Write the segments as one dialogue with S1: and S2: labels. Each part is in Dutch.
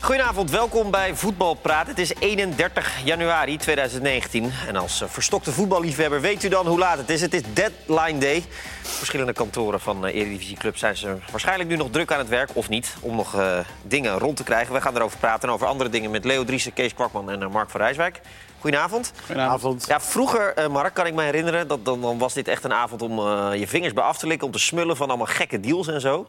S1: Goedenavond, welkom bij Voetbalpraat. Het is 31 januari 2019. En als eh, verstokte voetballiefhebber weet u dan hoe laat het is. Het is deadline day. Verschillende kantoren van eh, Eredivisieclubs zijn ze waarschijnlijk nu nog druk aan het werk. Of niet, om nog eh, dingen rond te krijgen. We gaan erover praten en over andere dingen met Leo Driessen, Kees Kwakman en eh, Mark van Rijswijk. Goedenavond.
S2: Goedenavond.
S1: Ja, vroeger, eh, Mark, kan ik me herinneren, dat, dan, dan was dit echt een avond om eh, je vingers bij af te likken... om te smullen van allemaal gekke deals en zo.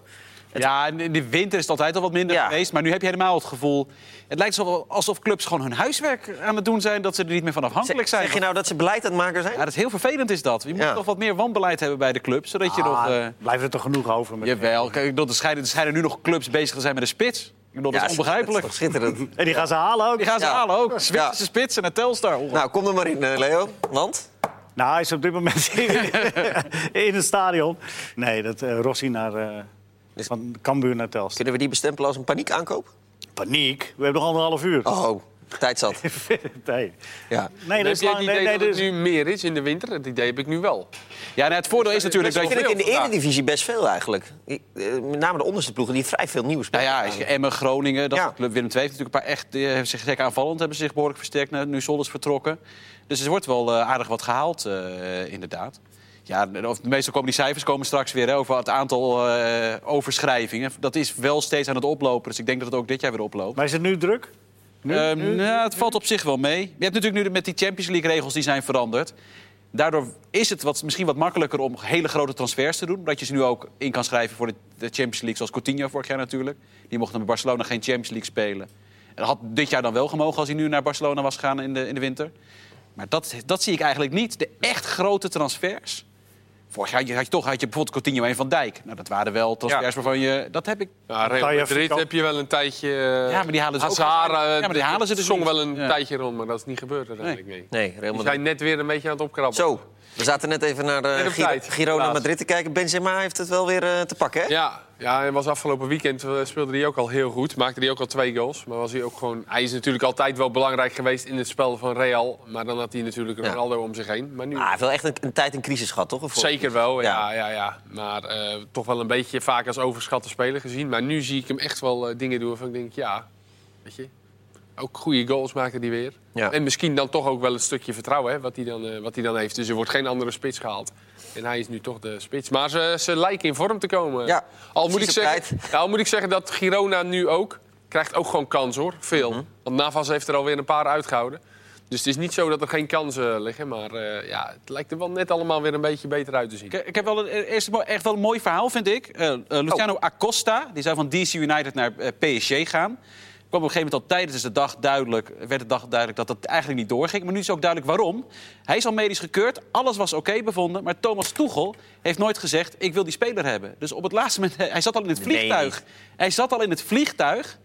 S2: Ja, en in de winter is het altijd al wat minder
S1: Ja.
S2: geweest. Maar nu heb je helemaal het gevoel... Het lijkt alsof- alsof clubs gewoon hun huiswerk aan het doen zijn... dat ze er niet meer van afhankelijk zijn.
S1: Zeg je nou dat ze beleid aan het maken zijn?
S2: Ja, dat is heel vervelend is dat. Je moet
S1: Ja. Ah.
S2: toch wat meer wanbeleid hebben bij de club. Zodat je nog... eh,
S3: Blijft Ah, er toch genoeg over? Met...
S2: jawel, kijk, ik bedoel, er schijnen, er schijnen nu nog clubs bezig te zijn met een spits. Ik bedoel, dat
S1: Ja,
S2: is onbegrijpelijk.
S1: dat is toch schitterend.
S3: En die gaan ze halen ook.
S2: Die gaan ze
S1: Ja.
S2: halen ook. Zwitserse
S1: Ja.
S2: spitsen naar Telstar. Nou,
S1: nou, kom er maar in, eh, Leo. Want?
S3: Nou, hij is op dit moment in- in het stadion. Nee, dat eh, Rossi naar... eh, van Cambuur naar Telstra.
S1: Kunnen we die bestempelen als een paniekaankoop?
S3: Paniek. We hebben nog anderhalf uur.
S1: Oh, tijd zat.
S3: Nee,
S1: Ja.
S3: nee dat
S4: heb
S3: is
S4: jij
S3: lang.
S4: het
S3: Nee,
S4: idee
S3: nee,
S4: dat
S3: dat
S4: het
S3: is-
S4: nu meer is in de winter? Dat idee heb ik nu wel.
S2: ja, nou, het voordeel is natuurlijk
S1: Dus- Ik
S2: dat
S1: vind
S2: je...
S1: het in de
S4: vandaag.
S1: Eredivisie best veel eigenlijk. Ik- eh, Met name de onderste ploegen, die vrij veel nieuws
S2: Nou ja, Emmen, Groningen, dat
S1: Ja.
S2: soort club Willem II heeft natuurlijk een paar echt... Die hebben zich zeker aanvallend hebben zich behoorlijk versterkt. Nu- Nu Sol is vertrokken. Dus er wordt wel eh, aardig wat gehaald, eh, inderdaad. Ja, en of, meestal komen die cijfers komen straks weer hè, over het aantal eh, overschrijvingen. Dat is wel steeds aan het oplopen. Dus ik denk dat het ook dit jaar weer oploopt.
S3: Maar is het nu druk? Nu,
S2: Ehm,
S3: nu?
S2: nou, het valt op zich wel mee. Je hebt natuurlijk nu de- met die Champions League-regels die zijn veranderd. Daardoor is het wat, misschien wat makkelijker om hele grote transfers te doen. Omdat je ze nu ook in kan schrijven voor de, de Champions League, zoals Coutinho vorig jaar natuurlijk. Die mocht dan bij Barcelona geen Champions League spelen. En dat had dit jaar dan wel gemogen als hij nu naar Barcelona was gegaan in de, in de winter. Maar dat, dat zie ik eigenlijk niet. De echt grote transfers. Vorig jaar had je, had je toch had je bijvoorbeeld Coutinho en Van Dijk. Nou, dat waren wel transfers waarvan je... Dat heb ik
S4: Ja, Real
S3: Kan je
S4: Madrid
S3: verkopen?
S4: heb je wel een tijdje... eh,
S2: Ja, maar die halen ze ook- Ja, maar die halen ze dus
S4: zong
S2: niet.
S4: wel een
S2: Ja.
S4: tijdje rond, maar dat is niet gebeurd uiteindelijk. Nee.
S1: Nee, helemaal
S4: Die
S1: niet.
S4: zijn net weer een beetje aan het opkrabben.
S1: Zo, we zaten net even naar
S4: Net
S1: eh
S4: op
S1: Giro,
S4: tijd,
S1: Girona
S4: helaas.
S1: Madrid te kijken. Benzema heeft het wel weer eh, te pakken, hè?
S4: Ja, ja, en was afgelopen weekend eh, speelde hij ook al heel goed. Maakte hij ook al twee goals. Maar was hij, ook gewoon, hij is natuurlijk altijd wel belangrijk geweest in het spel van Real. Maar dan had hij natuurlijk
S1: Ja.
S4: Ronaldo om zich heen. Maar nu
S1: Ah, hij heeft wel echt een, een tijd in crisis gehad, toch? Of-
S4: Zeker wel,
S1: Ja.
S4: ja. ja, ja, Maar eh, toch wel een beetje vaak als overschatte speler gezien. Maar nu zie ik hem echt wel eh, dingen doen waarvan ik denk, ja, weet je. Ook goede goals maken die weer.
S1: Ja.
S4: En misschien dan toch ook wel een stukje vertrouwen hè, wat, hij dan, eh, wat hij dan heeft. Dus er wordt geen andere spits gehaald. En hij is nu toch de spits. Maar ze, ze lijken in vorm te komen.
S1: Ja,
S4: al, moet
S1: precies
S4: ik
S1: op
S4: zeggen, ja, al Nou, moet ik zeggen dat Girona nu ook krijgt ook gewoon kans hoor. Veel.
S2: Mhm.
S4: Want Navas heeft er alweer een paar uitgehouden. Dus het is niet zo dat er geen kansen liggen. Maar eh, ja, het lijkt er wel net allemaal weer een beetje beter uit te zien.
S2: Ik, ik heb wel een, eh, eerst mo- echt wel een mooi verhaal, vind ik. Eh, eh, Luciano Acosta, die zou van DC United naar eh, PSG gaan. kwam op een gegeven moment al tijdens de dag duidelijk, werd de dag duidelijk dat dat eigenlijk niet doorging. Maar nu is ook duidelijk waarom. Hij is al medisch gekeurd, alles was oké bevonden. Maar Thomas Tuchel heeft nooit gezegd, ik wil die speler hebben. Dus op het laatste moment, hij zat al in het
S1: Nee.
S2: vliegtuig. Hij zat al in het vliegtuig.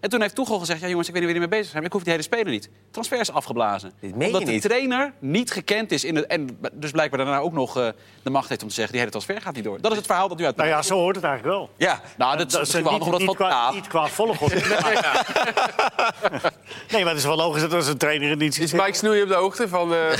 S2: En toen heeft Tuchel gezegd, ja jongens, ik weet niet waar jullie mee bezig zijn. maar Ik hoef die hele speler niet. Transfer is afgeblazen.
S1: Dit meen je
S2: Omdat de
S1: niet.
S2: trainer niet gekend is. In het, en dus blijkbaar daarna ook nog eh, de macht heeft om te zeggen... die hele transfer gaat niet door. Dat is het verhaal dat nu uit...
S3: Nou ja, zo hoort het eigenlijk wel.
S1: Ja.
S2: Nou, dat is
S3: Dat is
S2: misschien
S3: niet,
S2: wel handig om dat
S3: niet
S2: van...
S3: qua,
S2: Nou,
S3: niet qua volgorde. nee, maar het is wel logisch dat als een trainer het niet ziet.
S4: Is Mike Snoei op de hoogte van eh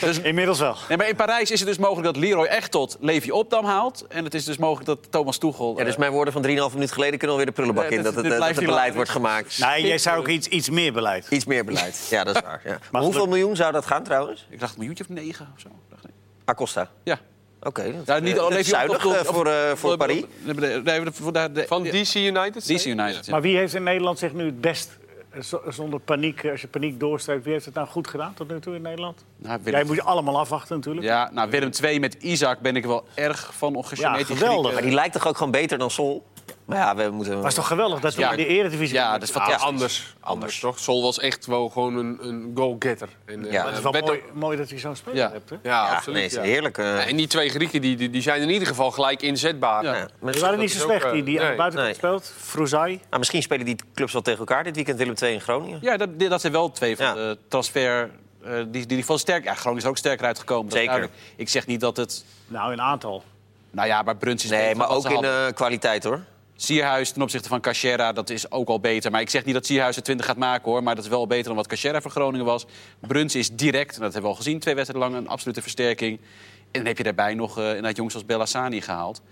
S4: Ros-
S3: Inmiddels wel.
S2: nee, maar in Parijs is het dus mogelijk dat Leroy Echtot Levi Opdam haalt. En het is dus mogelijk dat Thomas Tuchel...
S1: Ja, dus
S2: eh,
S1: mijn woorden van 3,5 minuut geleden kunnen alweer de prullenbak
S2: Eh,
S1: in.
S2: dit-
S1: Dat het,
S2: dit
S1: eh, dat
S2: blijft
S1: het
S2: hier
S1: beleid
S2: laten.
S1: wordt gemaakt.
S3: Nee, jij zou ook iets, iets meer beleid.
S1: Iets meer beleid. Ja, dat is waar. Ja. Maar hoeveel
S3: geluk-
S1: miljoen zou dat gaan, trouwens?
S2: Ik dacht een miljoentje of negen of zo. Ik dacht, nee.
S1: Acosta.
S2: Ja.
S1: Oké. dat-
S2: Ja, niet
S1: eh,
S2: al-
S1: dat is
S2: Levi Opdam
S1: zuinig eh,
S2: toch- of-
S1: voor, eh, voor
S2: of-
S1: Paris.
S2: Nee, nee, nee, voor de- de-
S4: van
S2: ja,
S4: DC United?
S2: DC United. ja.
S3: Maar wie heeft in Nederland zich nu het best, eh, z- zonder paniek, eh, als je paniek doorstreekt, wie heeft het nou goed gedaan tot nu toe in Nederland?
S2: Nou, Willem-
S3: Jij moet je allemaal afwachten natuurlijk.
S2: Ja, nou, Willem II met Isaac ben ik wel erg van
S3: Ja,
S2: ongegeneerd.
S3: geweldig.
S1: Maar die lijkt toch ook gewoon beter dan Sol? Maar ja, we moeten...
S3: was toch geweldig dat we
S2: Ja.
S3: in de eredivisie...
S2: Ja, dus, dat is
S4: Ja,
S2: fantastisch.
S4: anders. Anders toch? Sol was echt wel gewoon een, een goalgetter. En, eh,
S1: Ja.
S3: Maar het is wel
S4: werd
S3: mooi,
S4: ook-
S3: mooi dat je zo'n speler
S2: Ja.
S3: hebt. Hè?
S4: Ja,
S1: Ja,
S4: absoluut.
S1: nee, is
S4: ja.
S1: heerlijk. eh,
S4: Ja, En die twee Grieken die, die, die zijn in ieder geval gelijk inzetbaar.
S2: Ja.
S1: ja. Maar
S3: Die waren niet zo
S4: dat is ook,
S3: slecht,
S4: eh,
S3: die, die aan de
S4: nee,
S3: buitenkant
S1: nee.
S3: speelt. Frozai.
S1: nou, misschien spelen die clubs wel tegen elkaar dit weekend. Willem II in Groningen.
S2: Ja, dat, dat zijn wel twee van
S1: Ja.
S2: de transfer... eh, die, die, die van sterk... Ja, Groningen is er ook sterker uitgekomen. dat is
S1: Zeker.
S2: duidelijk. Ik zeg niet dat het...
S3: Nou, een aantal.
S2: Nou ja, maar Bruns is
S1: Nee,
S2: beter
S1: maar
S2: dan
S1: ook
S2: ze
S1: in
S2: hadden.
S1: eh, kwaliteit, hoor.
S2: Sierhuis ten opzichte van Cachera, dat is ook al beter. Maar ik zeg niet dat Sierhuis er 20 gaat maken, hoor. Maar dat is wel beter dan wat Cachera voor Groningen was. Bruns is direct, en dat hebben we al gezien, twee wedstrijden lang... een absolute versterking. En dan heb je daarbij nog eh, inderdaad jongens als Bellassani gehaald.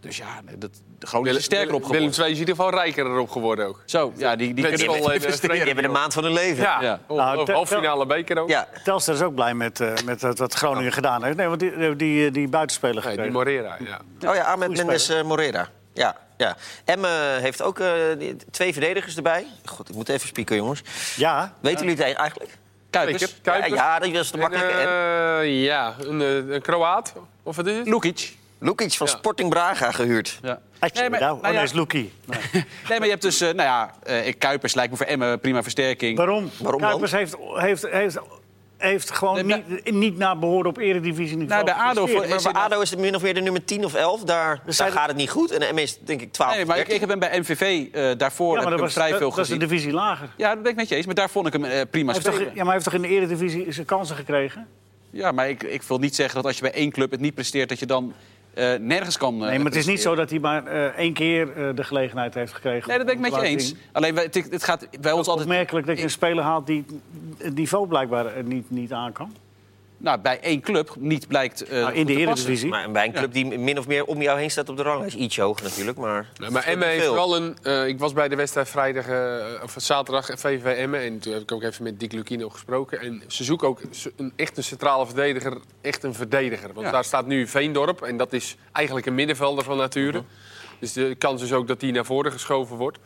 S2: Dus ja, nee, dat, Groningen
S4: Willem,
S2: is sterker op
S4: Willem
S2: geworden.
S4: II is in ieder geval rijker erop geworden ook.
S2: Zo, ja, die, die
S4: Met eh,
S2: kunnen-
S4: z'n allen in de
S1: Die hebben de maand van hun leven.
S4: Ja,
S2: Ja.
S3: Nou, te-
S4: halffinale beker ook.
S1: Ja.
S3: Telstar is ook blij met, eh, met het wat Groningen gedaan heeft. Nee, want die, die, die, die buitenspeler
S4: Nee, die
S3: gekregen.
S4: Morera, ja.
S1: Oh ja, Ahmed
S3: Goeie
S1: Mendes eh, Morera. Ja, ja. Emme heeft ook eh, die- twee verdedigers erbij. God, ik moet even spieken, jongens.
S3: ja,
S1: Weten jullie het eigenlijk?
S2: Kuipers,
S1: Ja, dus-
S4: Kuipers.
S1: ja, dat was de makkelijke.
S4: En,
S1: En,
S4: eh, ja, een, eh, een Kroaat. Of wat is het?
S2: Lukic.
S1: Lukic van
S4: ja.
S1: Sporting Braga gehuurd.
S2: Ja.
S3: Atje,
S2: Nee, maar-
S3: nou, oh,
S2: nou
S3: nee,
S2: ja.
S3: is Loekie.
S2: Nee, maar je hebt dus, eh, nou ja, eh, ik- Kuipers lijkt me voor Emmen prima versterking.
S3: Waarom?
S1: Waarom dan?
S3: Kuipers heeft, heeft, heeft, heeft gewoon
S2: Nee, maar-
S3: niet, niet naar behoren op eredivisie
S2: Nou,
S3: niveau.
S2: bij ADO voor-
S1: Maar bij ADO is het min of meer de nummer 10 of 11. Daar, daar
S3: zijn-
S1: gaat het niet goed. En Emme is denk ik 12
S2: Nee,
S1: of
S2: maar ik,
S1: 13.
S2: ik heb hem bij MVV eh, daarvoor
S3: ja, maar
S2: heb
S3: dat
S2: ik hem
S3: was,
S2: vrij
S3: dat-
S2: veel
S3: dat is de
S2: gezien.
S3: divisie lager. Hij
S2: Ja, dat ben ik met je eens, maar daar vond ik hem eh, prima
S3: heeft toch, ja,
S2: spelen.
S3: maar hij heeft toch in de eredivisie zijn kansen gekregen?
S2: Ja, maar ik, ik wil niet zeggen dat als je bij één club het niet presteert... dat je dan eh, nergens kan... eh,
S3: Nee, maar het is niet
S2: presteren.
S3: zo dat hij maar eh, één keer eh, de gelegenheid heeft gekregen.
S2: Nee, dat ben ik
S3: om te
S2: met je
S3: laten
S2: eens.
S3: zien.
S2: Alleen, wij- het, het gaat bij ons altijd...
S3: Opmerkelijk dat je een speler haalt die het niveau blijkbaar eh, niet, niet aan kan.
S2: Nou, bij één club niet blijkt... eh,
S3: Nou,
S2: goed
S3: in de
S2: te passen.
S3: eredivisie.
S1: Maar bij een club die min of meer om jou heen staat op de ranglijst. Iets hoger natuurlijk, maar...
S4: Nou, maar Emme heeft
S1: Veel.
S4: wel een. eh, ik was bij de wedstrijd vrijdag eh, of zaterdag VVV Emme en toen heb ik ook even met Dick Lucchino gesproken. En ze zoeken ook ze- een, echt een centrale verdediger, echt een verdediger. Want
S2: Ja.
S4: daar staat nu Veendorp en dat is eigenlijk een middenvelder van nature.
S2: Mhm.
S4: Dus de kans is ook dat die naar voren geschoven wordt.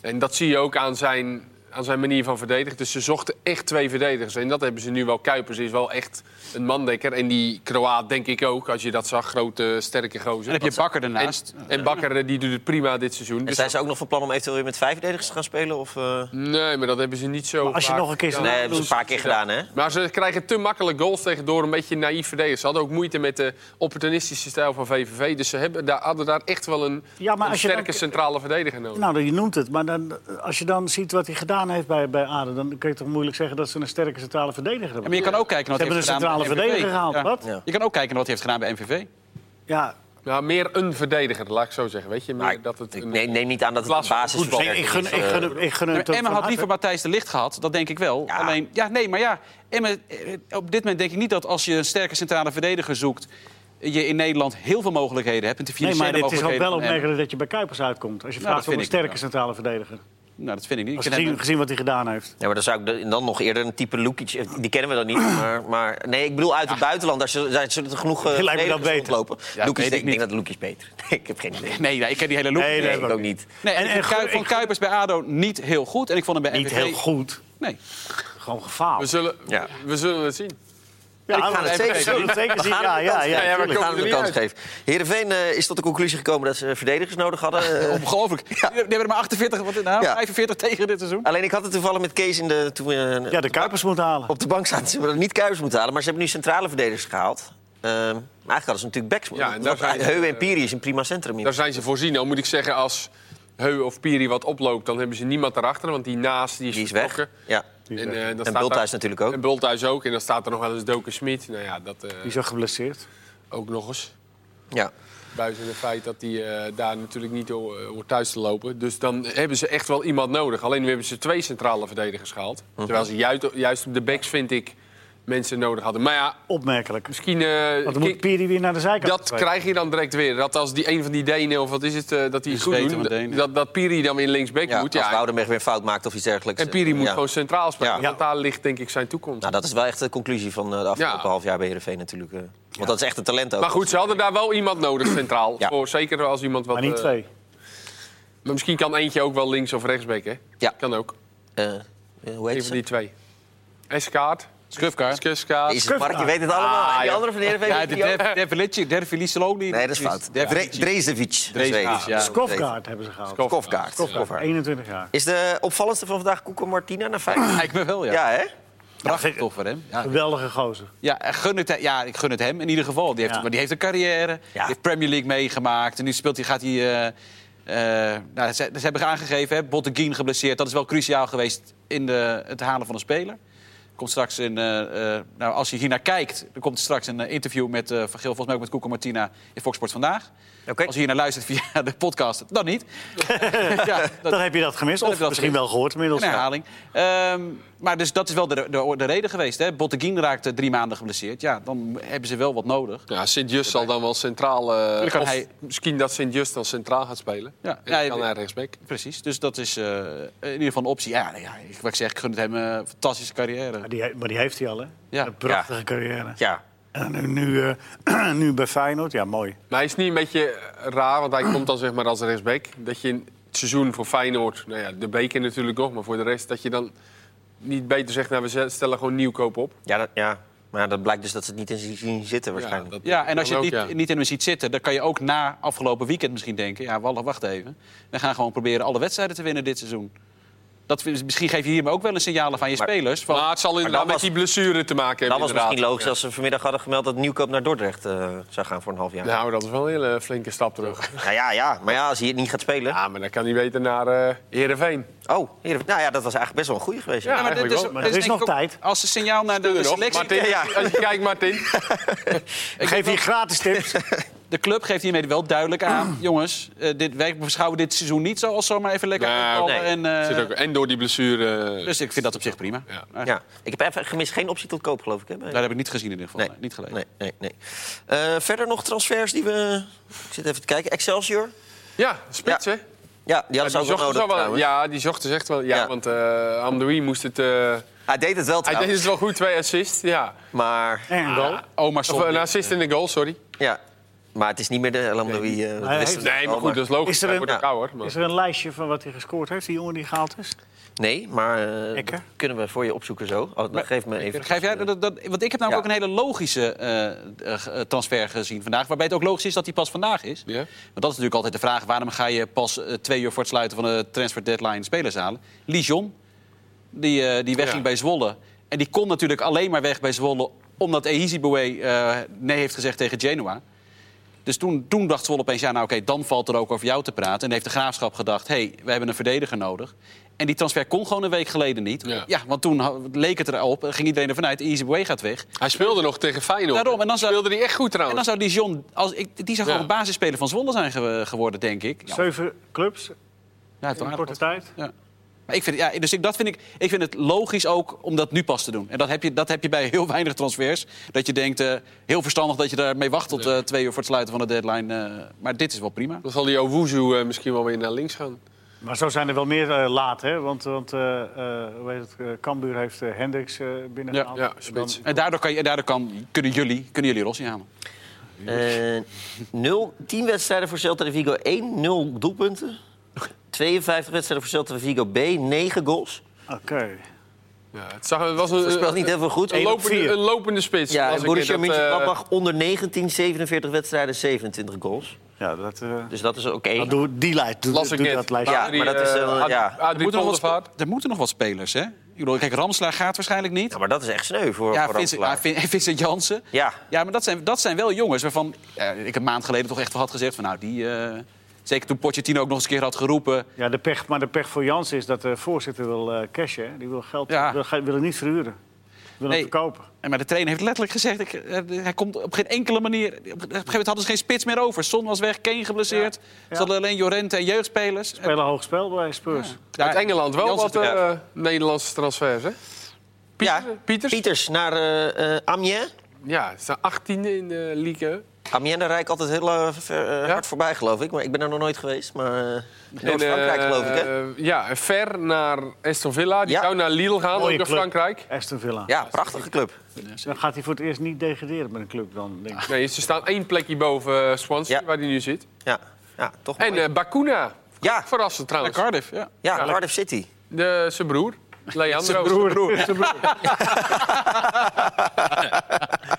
S4: En dat zie je ook aan zijn, aan zijn manier van verdedigen. Dus ze zochten echt twee verdedigers. En dat hebben ze nu wel. Kuipers is wel echt een mandekker. En die Kroaat denk ik ook, als je dat zag. Grote, sterke gozer.
S2: En heb je Bakker daarnaast.
S4: En, en Bakker eh, die doet het prima dit seizoen.
S1: En
S4: Dus
S1: zijn ze ook nog van plan om eventueel weer met vijf verdedigers te gaan spelen? Of, eh?
S4: Nee, maar dat hebben ze niet zo.
S3: Maar als je
S4: vaak
S3: nog een keer
S4: gedaan.
S1: Nee, hebben ze een paar keer gedaan, hè?
S4: Maar ze krijgen te makkelijk goals tegen door een beetje naïef verdedigen. Ze hadden ook moeite met de opportunistische stijl van VVV. Dus ze hebben, daar, hadden daar echt wel een,
S3: Ja, maar
S4: een
S3: als je
S4: sterke
S3: dan-
S4: centrale verdediger nodig.
S3: Nou, je noemt het. Maar dan, als je dan ziet wat hij gedaan heeft bij, bij ADO... dan kun je toch moeilijk zeggen dat ze een sterke centrale verdediger
S2: Ja,
S3: hebben.
S2: maar je kan ook kijken naar
S3: Ze
S2: wat hij
S3: hebben een
S2: heeft gedaan
S3: centrale
S2: bij
S3: verdediger
S2: MVV.
S3: gehaald.
S2: Ja.
S3: Wat?
S1: Ja.
S2: Je kan ook kijken naar wat hij heeft gedaan bij MVV.
S3: Ja.
S4: Ja, meer een verdediger, laat ik zo zeggen. Weet je, meer
S1: Maar ik-
S4: dat het
S1: ik
S4: een-
S1: neem, neem niet aan dat het
S4: plaats
S1: de
S4: van
S1: basis
S4: voetbal.
S1: is.
S3: Ik gun, ik gun, hem-
S1: eh,
S3: ik gun hem
S2: Maar
S3: het
S2: Emma
S3: ook van
S2: had
S3: harte.
S2: liever Matthijs de Licht gehad, dat denk ik wel.
S1: Ja.
S2: Alleen, ja, nee, maar ja, Emma, eh, op dit moment denk ik niet dat als je een sterke centrale verdediger zoekt, je in Nederland heel veel mogelijkheden hebt. En de
S3: Nee, maar
S2: financiële
S3: het is ook
S2: mogelijkheden.
S3: wel
S2: van Emmen.
S3: opmerkelijk dat je bij Kuipers uitkomt. Als je
S2: Nou,
S3: vraagt
S2: dat
S3: om een
S2: vind ik,
S3: sterke
S2: ja.
S3: centrale verdediger.
S2: Nou, dat vind ik niet. Ik
S3: Als je
S2: vind Emmen-
S3: gezien, gezien wat hij gedaan heeft.
S1: Ja, maar dan zou ik de- dan nog eerder een type Lukic... eh, Die kennen we dan niet, maar... maar nee, ik bedoel uit het buitenland. Daar zullen, daar zullen er genoeg eh,
S3: Lijkt me dat
S1: verdedigers
S3: beter.
S1: rondlopen.
S2: dat
S1: Lukic,
S2: weet ik
S1: ik denk
S2: niet.
S1: dat Lukic beter. Nee, ik heb geen idee.
S2: Nee, nee, ik ken die hele loop.
S3: Nee,
S2: Nee,
S1: Nee,
S3: dat
S1: ik ook niet.
S2: en,
S3: En-
S2: ik
S3: en
S2: vond Kuip-
S3: ik-
S2: van Kuipers bij ADO niet heel goed. En ik vond hem bij
S3: Niet
S2: MVV...
S3: heel goed.
S2: Nee.
S3: Gewoon
S4: we,
S3: gefaald.
S4: zullen,
S1: Ja.
S4: we zullen het zien.
S3: Ja,
S1: Ik ga
S3: maar
S1: het
S3: dat
S1: zeker
S3: zullen
S1: zien.
S3: we Zeker zien. Ja, ja, ja.
S4: Ja, ja, maar
S1: Ik
S3: tuurlijk.
S1: ga
S4: komen
S1: hem de
S4: er
S1: kans
S4: niet
S1: geven. Heerenveen eh, is tot de conclusie gekomen dat ze verdedigers nodig hadden. Eh,
S2: Ongelooflijk. Die hebben er maar 48, wat, nou,
S1: Ja.
S2: 45 tegen dit seizoen.
S1: alleen ik had het toevallig met Kees in de, toen we eh,
S3: Ja, de Kuipers moet halen.
S1: op de bank zaten. Ze hebben niet Kuipers moeten halen, maar ze hebben nu centrale verdedigers gehaald. Ehm, maar eigenlijk hadden ze natuurlijk backs moeten
S4: Ja, en daar
S1: Want,
S4: zijn ze,
S1: eh, Heu en Piri is een prima centrum.
S4: Daar
S1: Hier.
S4: zijn ze voorzien. Nou moet ik zeggen, als Heu of Piri wat oploopt, dan hebben ze niemand erachter. Want die naast, die is,
S1: Die is weg.
S4: vertrokken.
S1: Ja.
S3: Die is
S4: En,
S3: weg.
S4: eh, dan
S1: En
S4: staat
S1: Bulthuis
S4: daar-
S1: natuurlijk ook.
S4: En Bulthuis ook. En dan staat er nog wel eens Doken Smit. Nou ja, dat eh,
S3: Die is ook geblesseerd.
S4: ook nog eens.
S1: Ja.
S4: Buiten het feit dat hij eh, daar natuurlijk niet door, eh, hoort thuis te lopen. Dus dan hebben ze echt wel iemand nodig. Alleen nu hebben ze twee centrale verdedigers gehaald.
S1: Mhm.
S4: Terwijl ze juist, juist op de backs, vind ik, mensen nodig hadden. Maar ja,
S3: Opmerkelijk.
S4: misschien... eh,
S3: Want dan moet
S4: Kik-
S3: Piri weer naar de zijkant.
S4: dat
S3: trekken.
S4: krijg je dan direct weer. Dat als die een van die Denen, of wat is het, eh, dat die het goed
S2: Zweden
S4: doen,
S2: met Denen.
S4: dat, dat Piri dan weer linksback
S1: Ja,
S4: moet.
S1: als
S4: Ja,
S1: Woudenberg weer een fout maakt of iets dergelijks. eh,
S4: en Piri moet
S1: Ja.
S4: gewoon centraal spelen.
S1: Ja.
S4: Want daar ligt denk ik zijn toekomst.
S1: Nou, dat is wel echt de conclusie van eh, de afgelopen
S4: Ja.
S1: half jaar bij Heerenveen natuurlijk. eh. Want dat is echt een talent ook.
S4: maar goed, ze hadden daar wel iemand nodig centraal.
S1: Ja.
S4: Voor, zeker als iemand wat...
S3: Maar niet
S4: eh,
S3: twee.
S4: maar misschien kan eentje ook wel links of rechtsback, hè?
S1: Ja.
S4: Kan ook.
S1: Eh, eh, hoe
S4: Een
S1: heet
S4: van
S1: ze?
S4: die twee. Eskaart.
S2: Skrufkaart.
S4: Skuskaart.
S1: Is het Mark, je weet het allemaal. en die andere van Heerenveen?
S2: Ja,
S1: weet
S2: de
S1: Ah, die ook.
S2: Derviliceloni.
S1: Nee, dat is fout. Dre- Drezevic.
S2: Drezevic, ja.
S3: Skofgaard hebben ze gehaald.
S1: Skofkaart. Skofkaart.
S3: 21 jaar.
S1: Is de opvallendste van vandaag Koeko Martina naar vijf?
S2: Lijkt me wel, ja.
S1: Ja, hè?
S2: Prachtig toch voor hem. Ja.
S3: Geweldige gozer.
S2: Ja, en gun het, ja, ik gun het hem in ieder geval. Die heeft,
S3: Ja.
S2: maar die heeft een carrière, die heeft Premier League meegemaakt. En nu speelt hij, gaat hij... eh, eh, nou, ze, ze hebben aangegeven, hè, Botteguin geblesseerd. Dat is wel cruciaal geweest in de, het halen van een speler. Komt straks een, eh, eh, nou, als je hier naar kijkt, er komt straks een eh, interview met eh, Van Geel, volgens mij ook met Koeko Martina in Fox Sports vandaag.
S1: Oké.
S2: Als je hier naar luistert via de podcast, dan niet. ja, dat-
S3: Dan heb je dat gemist.
S2: Dan
S3: Of
S2: heb je dat
S3: misschien
S2: gemist.
S3: wel gehoord inmiddels.
S2: een herhaling. Ehm, Maar dus dat is wel de, de, de reden geweest. Hè? Botteguin raakte drie maanden geblesseerd. Ja, dan hebben ze wel wat nodig.
S4: Ja, Sint-Just zal dan wel centraal... eh,
S2: Dan kan
S4: of
S2: hij-
S4: Misschien dat Sint-Just dan centraal gaat spelen.
S2: Ja.
S4: En
S2: Ja,
S4: dan
S2: je-
S4: kan hij rechtsback.
S2: Precies, dus dat is eh, in ieder geval een optie. Ja, nou ja ik, wat ik zeg, ik gun het hem eh, een fantastische
S3: Maar
S2: carrière.
S3: die, he- maar die heeft hij al, hè?
S2: Ja.
S3: Een prachtige carrière.
S1: Ja,
S3: En nu, nu, eh, nu bij Feyenoord, ja, mooi.
S4: Maar hij is niet een beetje raar, want hij komt dan zeg maar als rechtsback. Dat je in het seizoen voor Feyenoord, nou ja, de beker natuurlijk nog, maar voor de rest dat je dan niet beter zegt, nou we zet- stellen gewoon nieuwkoop op.
S1: ja, dat, ja. maar ja, dat blijkt dus dat ze het niet in zien- zien zitten waarschijnlijk.
S4: dat
S2: Ja, en als je
S4: kan
S2: het niet,
S4: ook, ja.
S2: niet in hem ziet zitten, dan kan je ook na afgelopen weekend misschien denken... ja, Wallen, wacht even. We gaan gewoon proberen alle wedstrijden te winnen dit seizoen. Dat, we- misschien geef je hiermee ook wel een signaal aan je
S1: Maar-
S2: spelers. Van,
S4: Maar het zal inderdaad met
S1: was-
S4: die blessure te maken hebben.
S1: Dat was
S4: inderdaad.
S1: misschien logisch als ze vanmiddag hadden gemeld dat Nieuwkoop naar Dordrecht eh, zou gaan voor een half jaar. Ja.
S4: Nou, dat is wel een hele flinke stap terug.
S1: Nou ja, ja, maar ja, als hij het niet gaat spelen.
S4: Ja, maar dan kan hij beter naar eh Heerenveen.
S1: Oh, hier, nou ja, dat was eigenlijk best wel een goede geweest. Ja.
S4: Ja.
S2: dit
S4: eigenlijk wel,
S3: maar er is
S2: denk
S3: nog
S2: ik ook
S3: tijd.
S2: Als een signaal naar de,
S4: Doe je nog,
S2: selectie.
S4: Martin,
S1: Ja,
S4: als je- als je kijkt, Martin.
S3: Ik geef hier gratis tips.
S2: De club geeft hiermee wel duidelijk aan... jongens, eh, dit, wij beschouwen dit seizoen niet zoals zomaar even lekker
S4: Nou,
S2: voetballen
S1: nee.
S2: en, eh,
S4: Zit ook- En door die blessure. eh,
S2: Dus ik vind dat op zich prima.
S4: Ja.
S2: Eh,
S1: Ik heb even gemist geen optie tot koop, geloof ik. Hè? bij-
S2: Daar heb ik niet gezien in ieder geval.
S1: Nee.
S2: nee, niet gelezen.
S1: Nee, nee, nee. Eh, verder nog transfers die we... Ik zit even te kijken. Excelsior?
S4: Ja, spits,
S1: Ja.
S4: hè?
S1: Ja, die
S4: Ja,
S1: hadden ze ook wel nodig
S4: wel-
S1: trouwens.
S4: ja, die zocht dus echt wel. Ja,
S1: Ja.
S4: want eh Amdoui moest het. eh,
S1: Hij deed het wel
S4: hij deed
S1: trouwens.
S4: het wel goed, twee assists. Ja.
S1: Maar,
S3: En een goal.
S4: Ah,
S2: Omar
S4: Of een
S2: Son.
S4: assist en een goal, sorry.
S1: ja. maar het is niet meer de Elamdoui. eh dat
S3: hij
S1: wisten
S3: heeft-
S1: we
S4: Nee,
S1: wel,
S4: maar goed, dus dat is logisch.
S3: Is er
S4: Hij
S3: een-
S4: wordt ook
S1: Ja.
S4: ouder. Maar...
S3: Is er een lijstje van wat hij gescoord heeft, die jongen die gehaald is?
S1: Nee, maar eh,
S3: Ekker?
S1: dat kunnen we voor je opzoeken zo. Oh, dan geef me even...
S2: Geef jij dat, dat, want ik heb namelijk
S1: Ja.
S2: ook een hele logische eh, eh, ge- transfer gezien vandaag. Waarbij het ook logisch is dat die pas vandaag is.
S4: Ja.
S2: Want dat is natuurlijk altijd de vraag: waarom ga je pas eh, twee uur voor het sluiten van de transfer deadline spelers halen? Lijon, die, eh, die wegging
S4: Ja.
S2: bij Zwolle. En die kon natuurlijk alleen maar weg bij Zwolle omdat Ehizibue eh nee heeft gezegd tegen Genoa. Dus toen, toen dacht Zwolle opeens, ja, nou oké, dan valt er ook over jou te praten. En heeft de graafschap gedacht, hé, hey, we hebben een verdediger nodig. En die transfer kon gewoon een week geleden niet. Ja,
S4: Ja.
S2: want toen ha- leek het erop, eh, ging iedereen ervan uit, Easy Way gaat weg.
S4: Hij speelde nog tegen Feyenoord.
S2: Daarom, en dan zou-
S4: speelde hij echt goed
S2: En
S4: trouwens.
S2: dan zou Dijon, als, ik, die zou
S4: Ja.
S2: gewoon basisspeler van Zwolle zijn ge- geworden, denk ik. Ja,
S3: Zeven clubs
S2: hij heeft
S3: in
S2: wel
S3: een
S2: aardig
S3: korte tijd.
S2: wat. Ja. Maar ik vind, ja, dus ik, dat vind ik, ik vind het logisch ook om dat nu pas te doen. En dat heb je, dat heb je bij heel weinig transfers. Dat je denkt, eh, heel verstandig dat je daarmee wacht tot eh, twee uur voor het sluiten van de deadline. eh, maar dit is wel prima.
S4: Dan zal die Owuzu eh, misschien wel weer naar links gaan.
S3: Maar zo zijn er wel meer eh, laat, hè? Want, want eh, eh, hoe heet het, eh, Cambuur heeft eh, Hendricks eh binnengehaald.
S4: Ja, ja, spits.
S3: Dan-
S2: En daardoor, kan je, en daardoor kan, kunnen jullie, kunnen jullie Rossi halen.
S1: Eh, nul 10 wedstrijden voor Celta de Vigo 1, 0 doelpunten. 52 wedstrijden voor Celta de Vigo B, 9 goals.
S3: Oké.
S4: Ja, het, zag, het was een,
S1: Dat speelt niet
S4: een,
S1: heel veel goed.
S4: een,
S3: Eén op
S4: lopende,
S3: vier.
S4: een lopende spits.
S1: Ja,
S4: Dus Als
S1: en
S4: ik
S1: Borussia
S4: dat, eh,
S1: Mönchengladbach onder 19, 47 wedstrijden, 27 goals.
S3: Ja, dat, eh,
S1: Dus dat is ook
S4: Nou,
S1: één.
S3: dat doe, die lijst, doe,
S4: Las ik
S3: doe
S4: net.
S3: dat lijstje.
S1: Ja, maar dat is,
S4: eh,
S1: eh,
S4: Ad-
S1: ja.
S4: Adrie
S2: Er moeten, nog wat,
S4: Poldervaart.
S2: spe- er moeten nog wat spelers, hè? Ik bedoel, kijk, Ramslaar gaat waarschijnlijk niet.
S1: Ja, maar dat is echt sneu voor,
S2: Ja,
S1: voor
S2: Vincent,
S1: Ramselaar.
S2: ah, Vin- Vincent Jansen.
S1: Ja.
S2: Ja, maar dat zijn, dat zijn wel jongens waarvan ja, ik een maand geleden toch echt wel had gezegd... van nou, die... eh, zeker toen Pochettino ook nog eens een keer had geroepen...
S3: Ja, de pech, maar de pech voor Jans is dat de voorzitter wil eh, cashen. hè. Die wil geld,
S2: Ja.
S3: wil, ge- wil het niet verhuren. Wil
S2: Nee. Eh.
S3: hem verkopen.
S2: En maar de trainer heeft letterlijk gezegd... Ik, eh, hij komt op geen enkele manier... Op een gegeven moment hadden ze geen spits meer over. Son was weg, Kane geblesseerd. Ze
S3: Ja.
S2: hadden alleen Jorente en jeugdspelers.
S3: Spelen hoog spel bij Spurs.
S2: Ja,
S4: Uit Engeland wel
S2: Jansen
S4: wat
S2: toch-
S4: eh, Nederlandse transfers, hè?
S1: Ja,
S4: Pieters?
S1: Pieters naar eh, eh, Amiens.
S4: Ja, ze zijn 18 in de Ligue. En,
S1: Amiens, daar rijd ik altijd heel eh, ver, eh,
S4: Ja?
S1: hard voorbij, geloof ik. Maar ik ben er nog nooit geweest. Maar eh,
S4: eh,
S1: Noord-Frankrijk, geloof ik, hè?
S4: eh, ja, ver naar Aston Villa. Die
S1: Ja.
S4: zou naar Lille gaan,
S3: Mooie
S4: ook naar
S3: club.
S4: Frankrijk.
S3: Aston Villa.
S1: Ja, prachtige club.
S3: Dan gaat hij voor het eerst niet degraderen met een club dan, denk ik.
S4: Nee, ze staan één plekje boven eh, Swansea,
S1: Ja.
S4: waar hij nu zit.
S1: Ja, ja toch
S4: En
S1: mooi.
S4: eh Bakuna.
S1: Ja.
S4: Verrassend
S2: Naar
S4: trouwens.
S2: Cardiff, ja.
S1: ja, Cardiff City.
S4: De, zijn broer, Leandro.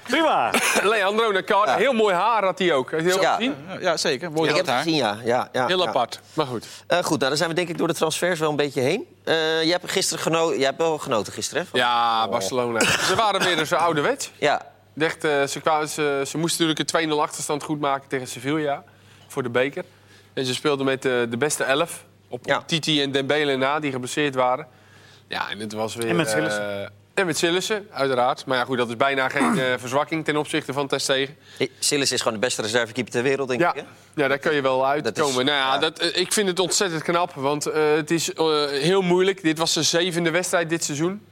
S3: Prima.
S4: Leandro naar Cardiff. Heel mooi haar had hij ook. Heb je heel
S1: Ja.
S4: gezien?
S2: Ja, ja, zeker. Mooi
S1: Ik heb
S2: rood
S1: het
S2: haar.
S1: gezien, ja. ja, ja
S4: Heel
S1: ja.
S4: apart. Maar goed.
S1: Eh, goed, nou, dan zijn we denk ik door de transfers wel een beetje heen. Eh, jij, hebt gisteren geno- jij hebt wel genoten gisteren, hè? Van-
S4: Ja, Barcelona. Ze waren weer zo ouderwets.
S1: Ja.
S4: Dacht, eh, ze, kwamen, ze, ze moesten natuurlijk een 2-0 achterstand goed maken tegen Sevilla voor de beker. En ze speelden met eh, de beste elf. Op
S1: Ja.
S4: Titi en Dembele na, die geblesseerd waren. Ja, en het was weer...
S3: En met
S4: eh,
S3: Sillissen.
S4: en met Sillissen, uiteraard. Maar ja, goed, dat is bijna geen eh, verzwakking ten opzichte van Testegen.
S1: Eh, Sillis is gewoon de beste reservekeeper ter wereld, denk
S4: Ja.
S1: ik. hè?
S4: ja, daar kun je wel uitkomen.
S1: is-
S4: nou ja,
S1: ja.
S4: Dat, eh, ik vind het ontzettend knap, want eh, het is eh, heel moeilijk. Dit was de zevende wedstrijd dit seizoen.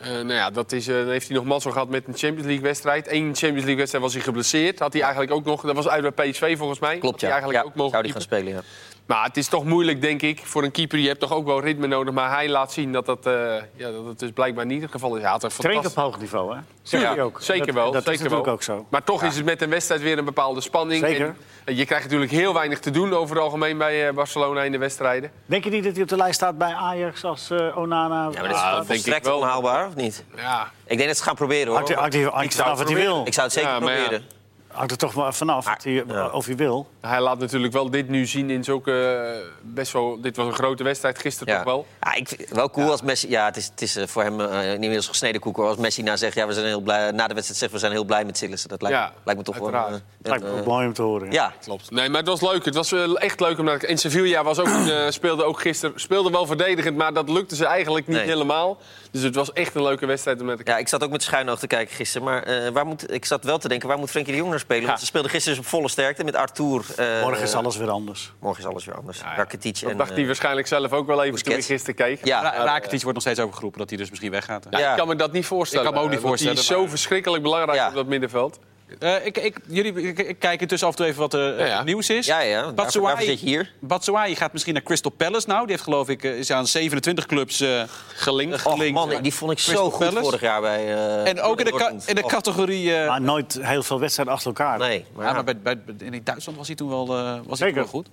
S4: Eh, nou ja, dat is, eh, dan heeft hij nog mazzel gehad met een Champions League-wedstrijd. Eén Champions League-wedstrijd was hij geblesseerd. Had hij eigenlijk ook nog, dat was uit bij PSV volgens mij.
S1: Klopt,
S4: Had
S1: ja.
S4: hij eigenlijk
S1: Ja,
S4: ook mogen
S1: zou die
S4: keepen.
S1: gaan spelen, ja.
S4: Maar het is toch moeilijk, denk ik, voor een keeper. Je hebt toch ook wel ritme nodig. Maar hij laat zien dat dat, eh, ja, dat het dus blijkbaar niet het geval is. Ja, het is
S3: Traint op
S4: fantastisch.
S3: hoog niveau, hè?
S4: Ja,
S3: Jullie ook.
S4: Zeker
S3: Dat-
S4: wel.
S3: Dat
S4: zeker
S3: is natuurlijk
S4: wel.
S3: ook zo.
S4: Maar toch is het met een wedstrijd weer een bepaalde spanning.
S3: Zeker.
S4: En, eh, je krijgt natuurlijk heel weinig te doen over het algemeen bij eh, Barcelona in de wedstrijden.
S3: Denk je niet dat hij op de lijst staat bij Ajax als eh, Onana?
S1: Ja, maar dat is
S4: dat
S1: wel
S4: denk ik
S1: volstrekt
S4: wel.
S1: onhaalbaar, of niet?
S4: Ja,
S1: Ik denk dat ze het gaan proberen, hoor.
S3: Hangt er- hangt er- hangt er vanaf wat hij wil.
S1: Ik zou het zeker
S4: Ja, maar ja.
S1: proberen.
S3: Hangt er toch maar vanaf wat hij, of hij wil.
S4: hij laat natuurlijk wel dit nu zien in zulke... eh, best wel, dit was een grote wedstrijd gisteren toch wel.
S1: Ja, ik, vind- wel cool als Messi. Ja, het is, het is eh, voor hem eh, inmiddels gesneden koek. hoor. Als Messi na zegt, ja, we zijn heel blij. Na de wedstrijd zegt, we zijn heel blij met Sillissen. Dat lijkt,
S4: Ja,
S1: lijkt me toch wel.
S4: uiteraard.
S1: eh,
S3: Lijkt me
S1: een,
S3: ook
S1: eh,
S3: mooi om te horen.
S1: ja,
S4: Klopt. Nee, maar het was leuk. Het was wel echt leuk om naar te- En Sevilla was ook, eh, speelde ook gisteren speelde wel verdedigend, maar dat lukte ze eigenlijk niet
S1: Nee.
S4: helemaal. Dus het was echt een leuke wedstrijd om naar te kijken.
S1: ja, ik zat ook met schuin oog te kijken gisteren. Maar eh, waar moet, ik zat wel te denken, waar moet Frenkie de Jong naar spelen? Want ze speelden gisteren dus op volle sterkte met Arthur. eh,
S3: Morgen is alles weer anders.
S1: Morgen is alles weer anders.
S4: ja.
S1: Rakitic
S4: Dat
S1: en...
S4: dacht hij
S1: eh,
S4: waarschijnlijk zelf ook wel even toen hij
S1: Busquets.
S4: gisteren keek.
S1: ja,
S2: Ra- Rakitic wordt nog steeds overgeroepen dat hij dus misschien weggaat.
S4: Ja,
S1: Ja.
S4: Ik kan me dat niet voorstellen.
S2: Ik kan me ook niet
S4: eh, want
S2: voorstellen,
S4: Die is zo
S2: maar-
S4: verschrikkelijk belangrijk
S1: Ja.
S4: op dat middenveld.
S2: Eh, ik, ik, jullie, ik, ik kijk intussen af en toe even wat er
S4: Ja, ja.
S2: nieuws is.
S1: ja, ja. Daarvoor,
S2: Batshuayi-
S1: daarvoor zit je hier.
S2: Batshuayi gaat misschien naar Crystal Palace nou. Die heeft geloof ik eh, is aan 27 clubs eh,
S4: Gelinkt.
S2: gelinkt.
S1: Och man, die vond ik
S2: Crystal
S1: zo goed
S2: Palace.
S1: vorig jaar bij eh,
S2: En ook in de, ka-
S1: Dortmund.
S2: in de
S1: Och,
S2: categorie... eh,
S3: Maar nooit heel veel wedstrijden achter elkaar.
S1: Nee, maar,
S2: Ja,
S1: ja.
S2: maar bij, bij, in Duitsland was hij toen wel, eh, was hij
S3: Zeker.
S2: toen wel goed.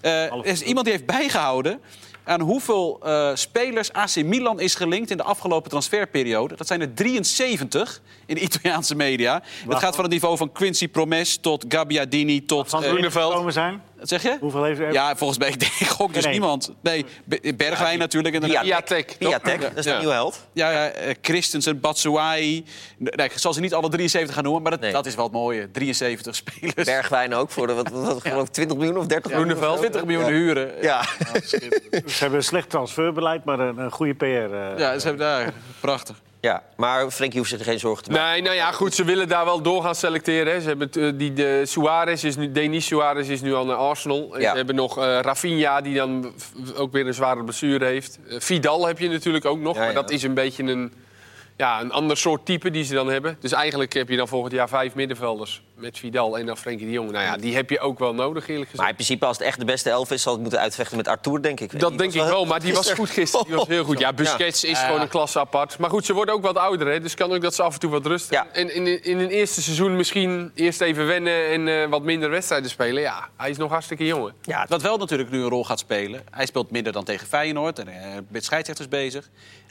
S2: Eh, er is iemand die heeft bijgehouden aan hoeveel eh, spelers AC Milan is gelinkt in de afgelopen transferperiode. Dat zijn er 73 in de Italiaanse media. Dat gaat van het niveau van Quincy Promes tot Gabbiadini tot...
S3: Van
S2: eh,
S3: Groeneveld. Komen zijn.
S2: wat zeg je?
S3: Hoeveel heeft hij?
S2: Ja, volgens mij ik denk, gok dus
S3: Nee.
S2: niemand. Nee, Be- Bergwijn natuurlijk. En ja,
S4: Piatek.
S1: Piatek, dat is de
S4: Ja.
S1: nieuwe held.
S2: ja, eh, Christensen, Batshuayi. Nee, ik zal ze niet alle 73 gaan noemen, maar dat,
S1: Nee.
S2: dat is wel het mooie. 73 spelers.
S1: Bergwijn ook, voor de, wat, wat, wat- geloof ik, 20 miljoen of 30 miljoen.
S2: Groeneveld. 20 miljoen huren.
S1: Ja.
S3: Ze hebben een slecht transferbeleid, maar een, een goede PR. eh.
S2: Ja, ze hebben daar. Prachtig.
S1: ja, maar Frenkie hoeft zich geen zorgen te maken.
S4: Nee, nou ja, goed, ze willen daar wel door gaan selecteren. Hè. Ze hebben t- eh, die de Suarez is nu, Denis Suarez is nu al naar Arsenal. En
S1: Ja.
S4: Ze hebben nog eh Rafinha, die dan v- ook weer een zware blessure heeft. Eh, Vidal heb je natuurlijk ook nog,
S1: Ja,
S4: maar
S1: ja.
S4: dat is een beetje een, ja, een ander soort type die ze dan hebben. Dus eigenlijk heb je dan volgend jaar vijf middenvelders met Vidal en dan Frenkie de Jong. Nou ja, die heb je ook wel nodig, eerlijk gezegd.
S1: Maar in principe, als het echt de beste elf is, zal het moeten uitvechten met Arthur, denk ik.
S4: Dat denk ik wel, maar die was goed gisteren. Die was heel goed. Ja, Busquets is gewoon een klasse apart. Maar goed, ze worden ook wat ouder, hè, dus kan ook dat ze af en toe wat rust.
S1: Ja.
S4: En in, in een eerste seizoen misschien eerst even wennen en eh, wat minder wedstrijden spelen. Ja, hij is nog hartstikke jong. hè.
S2: Ja, wat wel natuurlijk nu een rol gaat spelen. Hij speelt minder dan tegen Feyenoord en eh, met scheidsrechters bezig.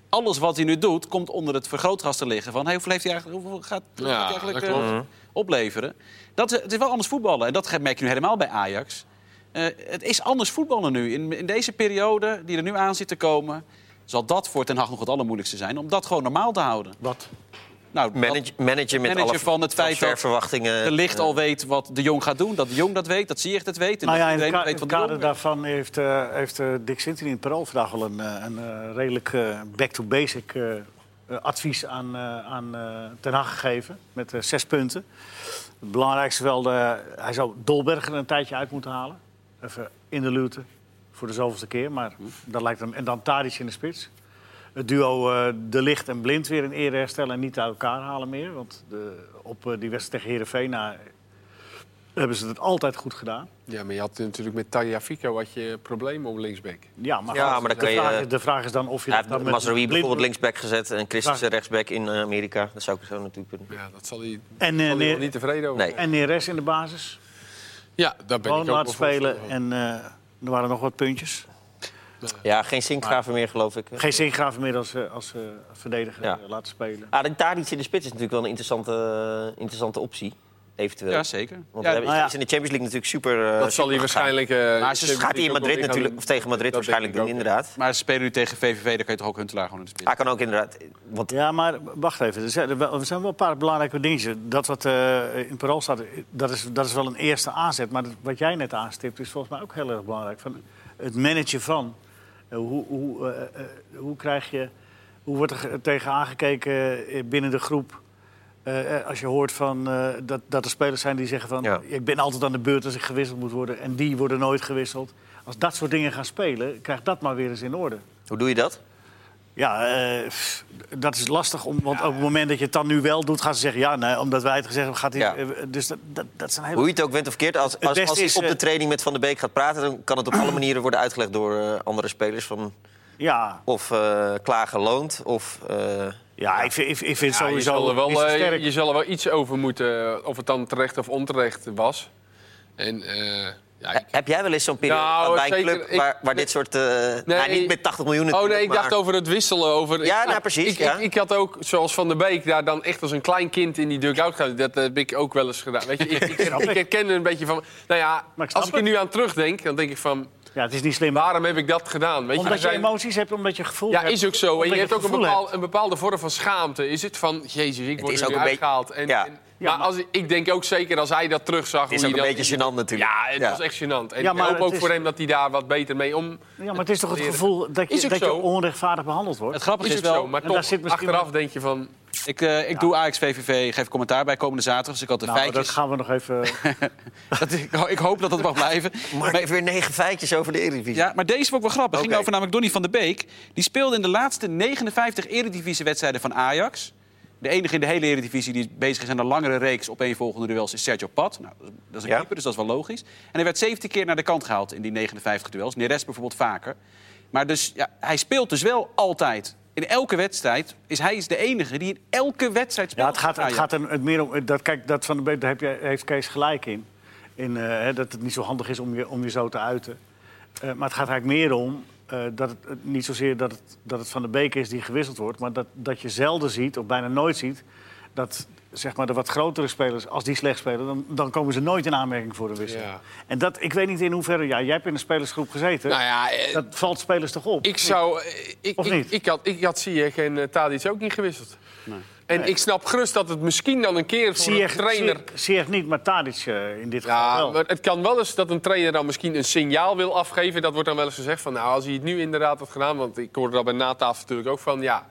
S2: Alles wat hij nu doet, komt onder het vergrootgras te liggen. Van hey, hoeveel, heeft hij eigenlijk, hoeveel gaat gaat
S4: Ja,
S2: hij eigenlijk
S4: dat
S2: eh,
S4: klopt.
S2: opleveren? Dat, is- het is wel anders voetballen. En dat merk je nu helemaal bij Ajax. Eh, het is anders voetballen nu. In, in deze periode die er nu aan zit te komen... zal dat voor Ten Hag nog het allermoeilijkste zijn. Om dat gewoon normaal te houden.
S3: Wat?
S2: Nou, dat-
S1: Manager, manager met
S2: Manager
S1: alle
S2: van het feit dat-
S1: transferverwachtingen.
S2: de
S4: eh,
S2: licht al weet wat de Jong gaat doen. Dat de Jong dat weet, dat zie je dat weet. En
S3: Nou
S2: dat
S3: ja, in het
S2: iedereen
S3: ka-
S2: dat weet
S3: in
S2: wat
S3: het
S2: de Jong weet.
S3: kader daarvan heeft, eh, heeft eh, Dick Sinter in het Parool vandaag wel een, eh, een eh, redelijk eh, back-to-basic eh, eh, advies aan, eh, aan eh, Ten Hag gegeven. Met eh, zes punten. Het belangrijkste wel, de, hij zou Dolberger een tijdje uit moeten halen. Even in de lute, voor de zoveelste keer. Maar
S2: Hm.
S3: dat lijkt hem. En dan Tadic in de spits. Het duo eh, De Licht en Blind weer in ere herstellen en niet uit elkaar halen meer. Want de, op eh, die wedstrijd tegen Heerenveen na, hebben ze het altijd goed gedaan.
S4: Ja, maar je had natuurlijk met Tagliafico wat je problemen op linksback.
S3: Ja, maar,
S1: Ja,
S3: als-
S1: maar dan
S3: de,
S1: kan je- eh,
S3: vraag, is- de vraag is dan of je
S1: Hij
S3: dat dan
S1: heeft Mazraoui
S3: blind-
S1: bijvoorbeeld linksback gezet en Christensen rechtsback in eh, Amerika. Dat zou ik zo natuurlijk kunnen.
S4: Ja, dat zal hij,
S3: En,
S4: zal
S3: eh,
S4: hij
S3: nee-
S4: wel niet tevreden over.
S1: Nee.
S4: zijn.
S3: En Neres in de basis.
S4: Ja, daar ben
S3: Gewoon
S4: ik ook
S3: laten
S4: wel voorstander
S3: spelen.
S4: van.
S3: En eh, er waren nog wat puntjes.
S1: Ja, geen Sinkgraven meer, geloof ik.
S3: Geen Zingraaf meer als, eh, als eh, verdediger
S1: Ja.
S3: eh, laten spelen.
S1: Ah, dan Tadic in de spits is natuurlijk wel een interessante, eh, interessante optie. Eventueel.
S2: Ja, zeker.
S1: Want
S2: Ja,
S1: hij is-
S3: nou ja.
S1: is in de Champions League natuurlijk super... eh,
S4: Dat zal hij
S1: super gegaan.
S4: waarschijnlijk... eh,
S2: Maar ze
S4: Champions
S1: Gaat hij
S4: League
S1: in
S4: ook nog
S1: Madrid
S4: weer gaan
S1: natuurlijk,
S4: doen.
S1: of tegen Madrid
S4: Dat
S1: waarschijnlijk
S4: denk
S1: doen,
S4: ik ook,
S1: inderdaad.
S2: Maar ze spelen nu tegen VVV, dan kan je toch ook Huntelaar gewoon in de spits.
S1: Hij kan ook inderdaad... Want
S3: Ja, maar wacht even. Er zijn, er wel- er zijn wel een paar belangrijke dingetjes. Dat wat eh, in parool staat, eh, dat is, dat is wel een eerste aanzet. Maar dat- wat jij net aanstipt, is volgens mij ook heel erg belangrijk. Van het managen van. Eh, hoe, hoe, eh, eh, hoe krijg je... Hoe wordt er ge- tegen aangekeken eh, binnen de groep... Eh, eh, als je hoort van, eh, dat, dat er spelers zijn die zeggen van...
S1: Ja.
S3: ik ben altijd aan de beurt als ik gewisseld moet worden... en die worden nooit gewisseld. Als dat soort dingen gaan spelen, krijgt dat maar weer eens in orde.
S1: hoe doe je dat?
S3: Ja, eh, pff, dat is lastig. Om, want op het moment dat je het dan nu wel doet, gaan ze zeggen... ja, nee, omdat wij het gezegd hebben, gaat hij...
S1: Ja.
S3: eh, Dus dat, dat, dat zijn hele...
S1: Hoe je het ook went of keert, als, als,
S3: beste
S1: als hij
S3: is,
S1: op de
S3: eh,
S1: training met Van der Beek gaat praten... dan kan het op alle manieren worden uitgelegd door eh, andere spelers. Van
S3: Ja,
S1: of eh klaar geloond, of... eh,
S3: ja ik vind, ik, ik vind
S4: Ja, je,
S3: sowieso...
S4: zal er
S3: is
S4: wel,
S3: het
S4: eh,
S3: sterk.
S4: je zal er wel iets over moeten, eh, of het dan terecht of onterecht was. En eh, ja, ik-
S1: Heb jij wel eens zo'n periode
S4: Nou,
S1: bij een
S4: zeker.
S1: club
S4: Ik-
S1: waar, waar dit soort... eh, nou, niet met 80 miljoen
S4: Oh nee,
S1: natuurlijk,
S4: ik
S1: maar-
S4: dacht over het wisselen. Over,
S1: Ja,
S4: ik,
S1: nou, precies,
S4: Ik,
S1: ja.
S4: ik, ik had ook, zoals Van der Beek, daar dan echt als een klein kind in die dugout gaan. Dat heb ik ook wel eens gedaan. Weet je, ik, ik, ik herken er een beetje van. Nou ja,
S3: Maar ik snap
S4: als ik er
S3: het.
S4: nu aan terugdenk, dan denk ik van...
S3: Ja, het is niet slim.
S4: Waarom heb ik dat gedaan? Weet
S3: Omdat
S4: er
S3: je
S4: zijn-
S3: emoties hebt, omdat je gevoel
S4: Ja,
S3: hebt.
S4: is ook zo. En
S3: Omdat
S4: je hebt
S3: het
S4: ook een,
S3: gevoel
S4: bepaal- een bepaalde vorm van schaamte. Is het van, jezus, ik word
S1: is
S4: er
S1: ook
S4: weer
S1: een beetje-
S4: uitgehaald. En,
S1: ja.
S4: en-
S3: Ja,
S4: maar
S3: maar-
S4: als, ik denk ook zeker als hij dat terugzag...
S1: Het is
S4: hoe
S1: ook
S4: hij
S1: een
S4: dan-
S1: beetje gênant natuurlijk.
S4: Ja, het was echt gênant. En
S3: Ja,
S4: ik
S3: maar
S4: hoop
S3: het
S4: ook
S3: is-
S4: voor hem dat hij daar wat beter mee om...
S3: Ja, maar het is toch het
S4: leren.
S3: gevoel dat
S4: Is
S3: je,
S4: ook
S3: dat je
S4: zo.
S3: onrechtvaardig behandeld wordt?
S2: Ah, Het grappige
S4: Is
S2: is,
S4: ook
S2: wel,
S4: zo, maar
S3: En daar
S4: toch,
S3: zit misschien-
S4: achteraf denk je van...
S2: ik, eh, ik doe AX VVV, geef commentaar bij komende zaterdag. Dus ik had de
S3: Nou, dat
S2: feitjes.
S3: gaan we nog even...
S2: Dat, ik, ik hoop dat dat mag blijven.
S1: Mark heeft weer negen feitjes over de Eredivisie.
S2: Ja, maar deze vond ik wel grappig. Het
S1: Oké.
S2: ging over namelijk Donny van der Beek. Die speelde in de laatste 59 Eredivisie-wedstrijden van Ajax. De enige in de hele Eredivisie die bezig is aan een langere reeks opeenvolgende duels is Sergio Pat. Nou, dat is- dat is een
S1: Ja.
S2: keeper, dus dat is wel logisch. En hij werd 17 keer naar de kant gehaald in die 59 duels. Neres bijvoorbeeld vaker. Maar dus, ja, hij speelt dus wel altijd. In elke wedstrijd is hij is de enige die in elke wedstrijd speelt.
S3: Ja, het gaat,
S2: voor
S3: het
S2: Ajax.
S3: gaat er het meer om. Dat, kijk, dat van de Beek, daar heb je, heeft Kees gelijk in. in eh, hè, dat het niet zo handig is om je, om je zo te uiten. Eh, maar het gaat eigenlijk meer om. eh, dat het eh, niet zozeer dat het, dat het van de Beek is die gewisseld wordt. maar dat, dat je zelden ziet, of bijna nooit ziet. dat zeg maar, de wat grotere spelers, als die slecht spelen. dan, dan komen ze nooit in aanmerking voor de wissel.
S4: Ja.
S3: En dat, ik weet niet in hoeverre. Ja, jij hebt in een spelersgroep gezeten.
S4: Nou ja, eh,
S3: dat valt spelers toch op?
S4: Ik zou. eh, Ik,
S3: Of
S4: ik,
S3: niet?
S4: Ik had, ik had Ziyech en eh, Tadic ook niet gewisseld. En ik snap gerust dat het misschien dan een keer voor
S3: Zie
S4: een trainer.
S3: Zie niet, maar Tadic eh, in dit geval.
S4: ja,
S3: wel.
S4: maar het kan wel eens dat een trainer dan misschien een signaal wil afgeven. Dat wordt dan wel eens gezegd van, nou, als hij het nu inderdaad had gedaan... want ik hoorde dat bij natafel natuurlijk ook van, ja...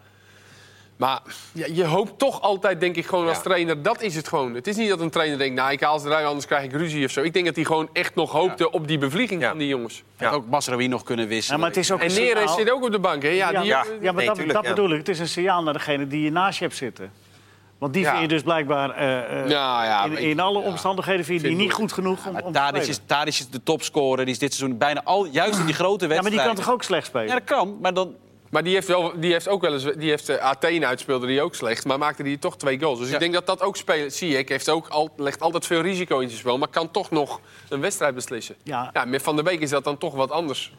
S4: Maar ja, je hoopt toch altijd, denk ik, gewoon als
S2: Ja.
S4: trainer... dat is het gewoon. Het is niet dat een trainer denkt, nou, ik haal ze eruit, anders krijg ik ruzie of zo. Ik denk dat hij gewoon echt nog hoopte op die bevlieging
S1: Ja.
S4: van die jongens.
S2: Had ook Masraoui nog kunnen wisselen.
S3: Ja, maar het is ook
S4: En
S3: een
S4: Neres
S3: signaal-
S4: zit ook op de bank, hè? Ja,
S3: Ja,
S4: die
S3: ja,
S4: jongen-
S3: maar
S1: nee,
S3: dat,
S1: tuurlijk,
S3: dat
S1: ja.
S3: bedoel ik. Het is een signaal naar degene die je naast je hebt zitten. Want die
S4: Ja.
S3: vind je dus blijkbaar eh, eh,
S4: Ja, ja,
S3: in,
S4: ik-
S3: in alle
S4: ja.
S3: omstandigheden vind je die
S4: Vind
S3: niet
S4: ik
S3: goed genoeg om,
S2: Maar
S3: om te
S2: Tadic is,
S3: spelen.
S2: Tadic is de topscorer. Die is dit seizoen bijna al, juist in die grote
S3: Ja, maar
S2: wedstrijden.
S3: die kan toch ook slecht spelen?
S2: Ja, dat kan, maar dan...
S4: Maar die heeft, wel, die heeft ook wel eens... Die heeft, eh, Athene uitspeelde die ook slecht, maar maakte die toch twee goals. Dus
S2: Ja.
S4: ik denk dat dat ook speelt. Ziyech heeft ook al, legt altijd veel risico in zijn spel... maar kan toch nog een wedstrijd beslissen.
S3: Ja.
S4: Ja, met Van der Beek is dat dan toch wat anders.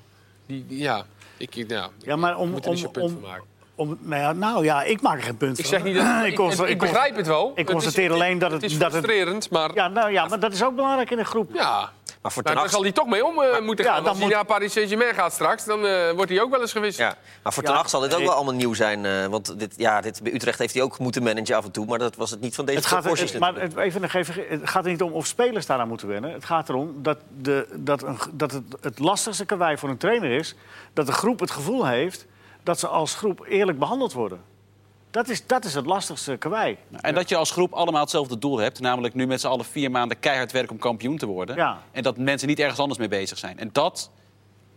S4: Die, die- ja, ik, ik- ja,
S3: Ja, maar om...
S4: ik moet er
S3: om,
S4: niet zo'n punt
S3: om,
S4: van maken.
S3: om- nou, ja, nou ja, ik maak er geen punt
S4: Ik
S3: van.
S4: zeg niet dat...
S3: Ik
S4: ik,
S3: consta-
S4: ik,
S3: ik consta-
S4: begrijp het wel. Het is-
S3: constateer alleen dat het-
S4: Het is
S3: dat het-
S4: frustrerend, maar... Ja,
S3: Ja, nou ja, maar dat is ook belangrijk in een groep.
S1: Maar voor
S4: Maar
S1: Ten
S4: daar
S1: Hag...
S4: zal hij toch mee om eh, moeten
S3: Ja,
S4: gaan.
S3: dan
S4: Als hij
S3: moet-
S4: naar Paris Saint-Germain gaat straks, dan eh, wordt hij ook wel eens gewisseld.
S1: Ja. Maar voor Ten
S3: Ja,
S1: Hag zal dit ook
S3: nee.
S1: wel allemaal nieuw zijn. eh, want dit, ja, dit, bij Utrecht heeft hij ook moeten managen af en toe. Maar dat was het niet van deze
S3: Het gaat,
S1: proporties
S3: het, maar
S1: natuurlijk.
S3: het, even, nog even, het gaat er niet om of spelers daaraan moeten wennen. Het gaat erom dat, de, dat, een, dat het, het lastigste karwei voor een trainer is... dat de groep het gevoel heeft dat ze als groep eerlijk behandeld worden. Dat is, dat is het lastigste karwei.
S2: En dat je als groep allemaal hetzelfde doel hebt. Namelijk nu met z'n allen vier maanden keihard werken om kampioen te worden.
S3: Ja.
S2: En dat mensen niet ergens anders mee bezig zijn. En dat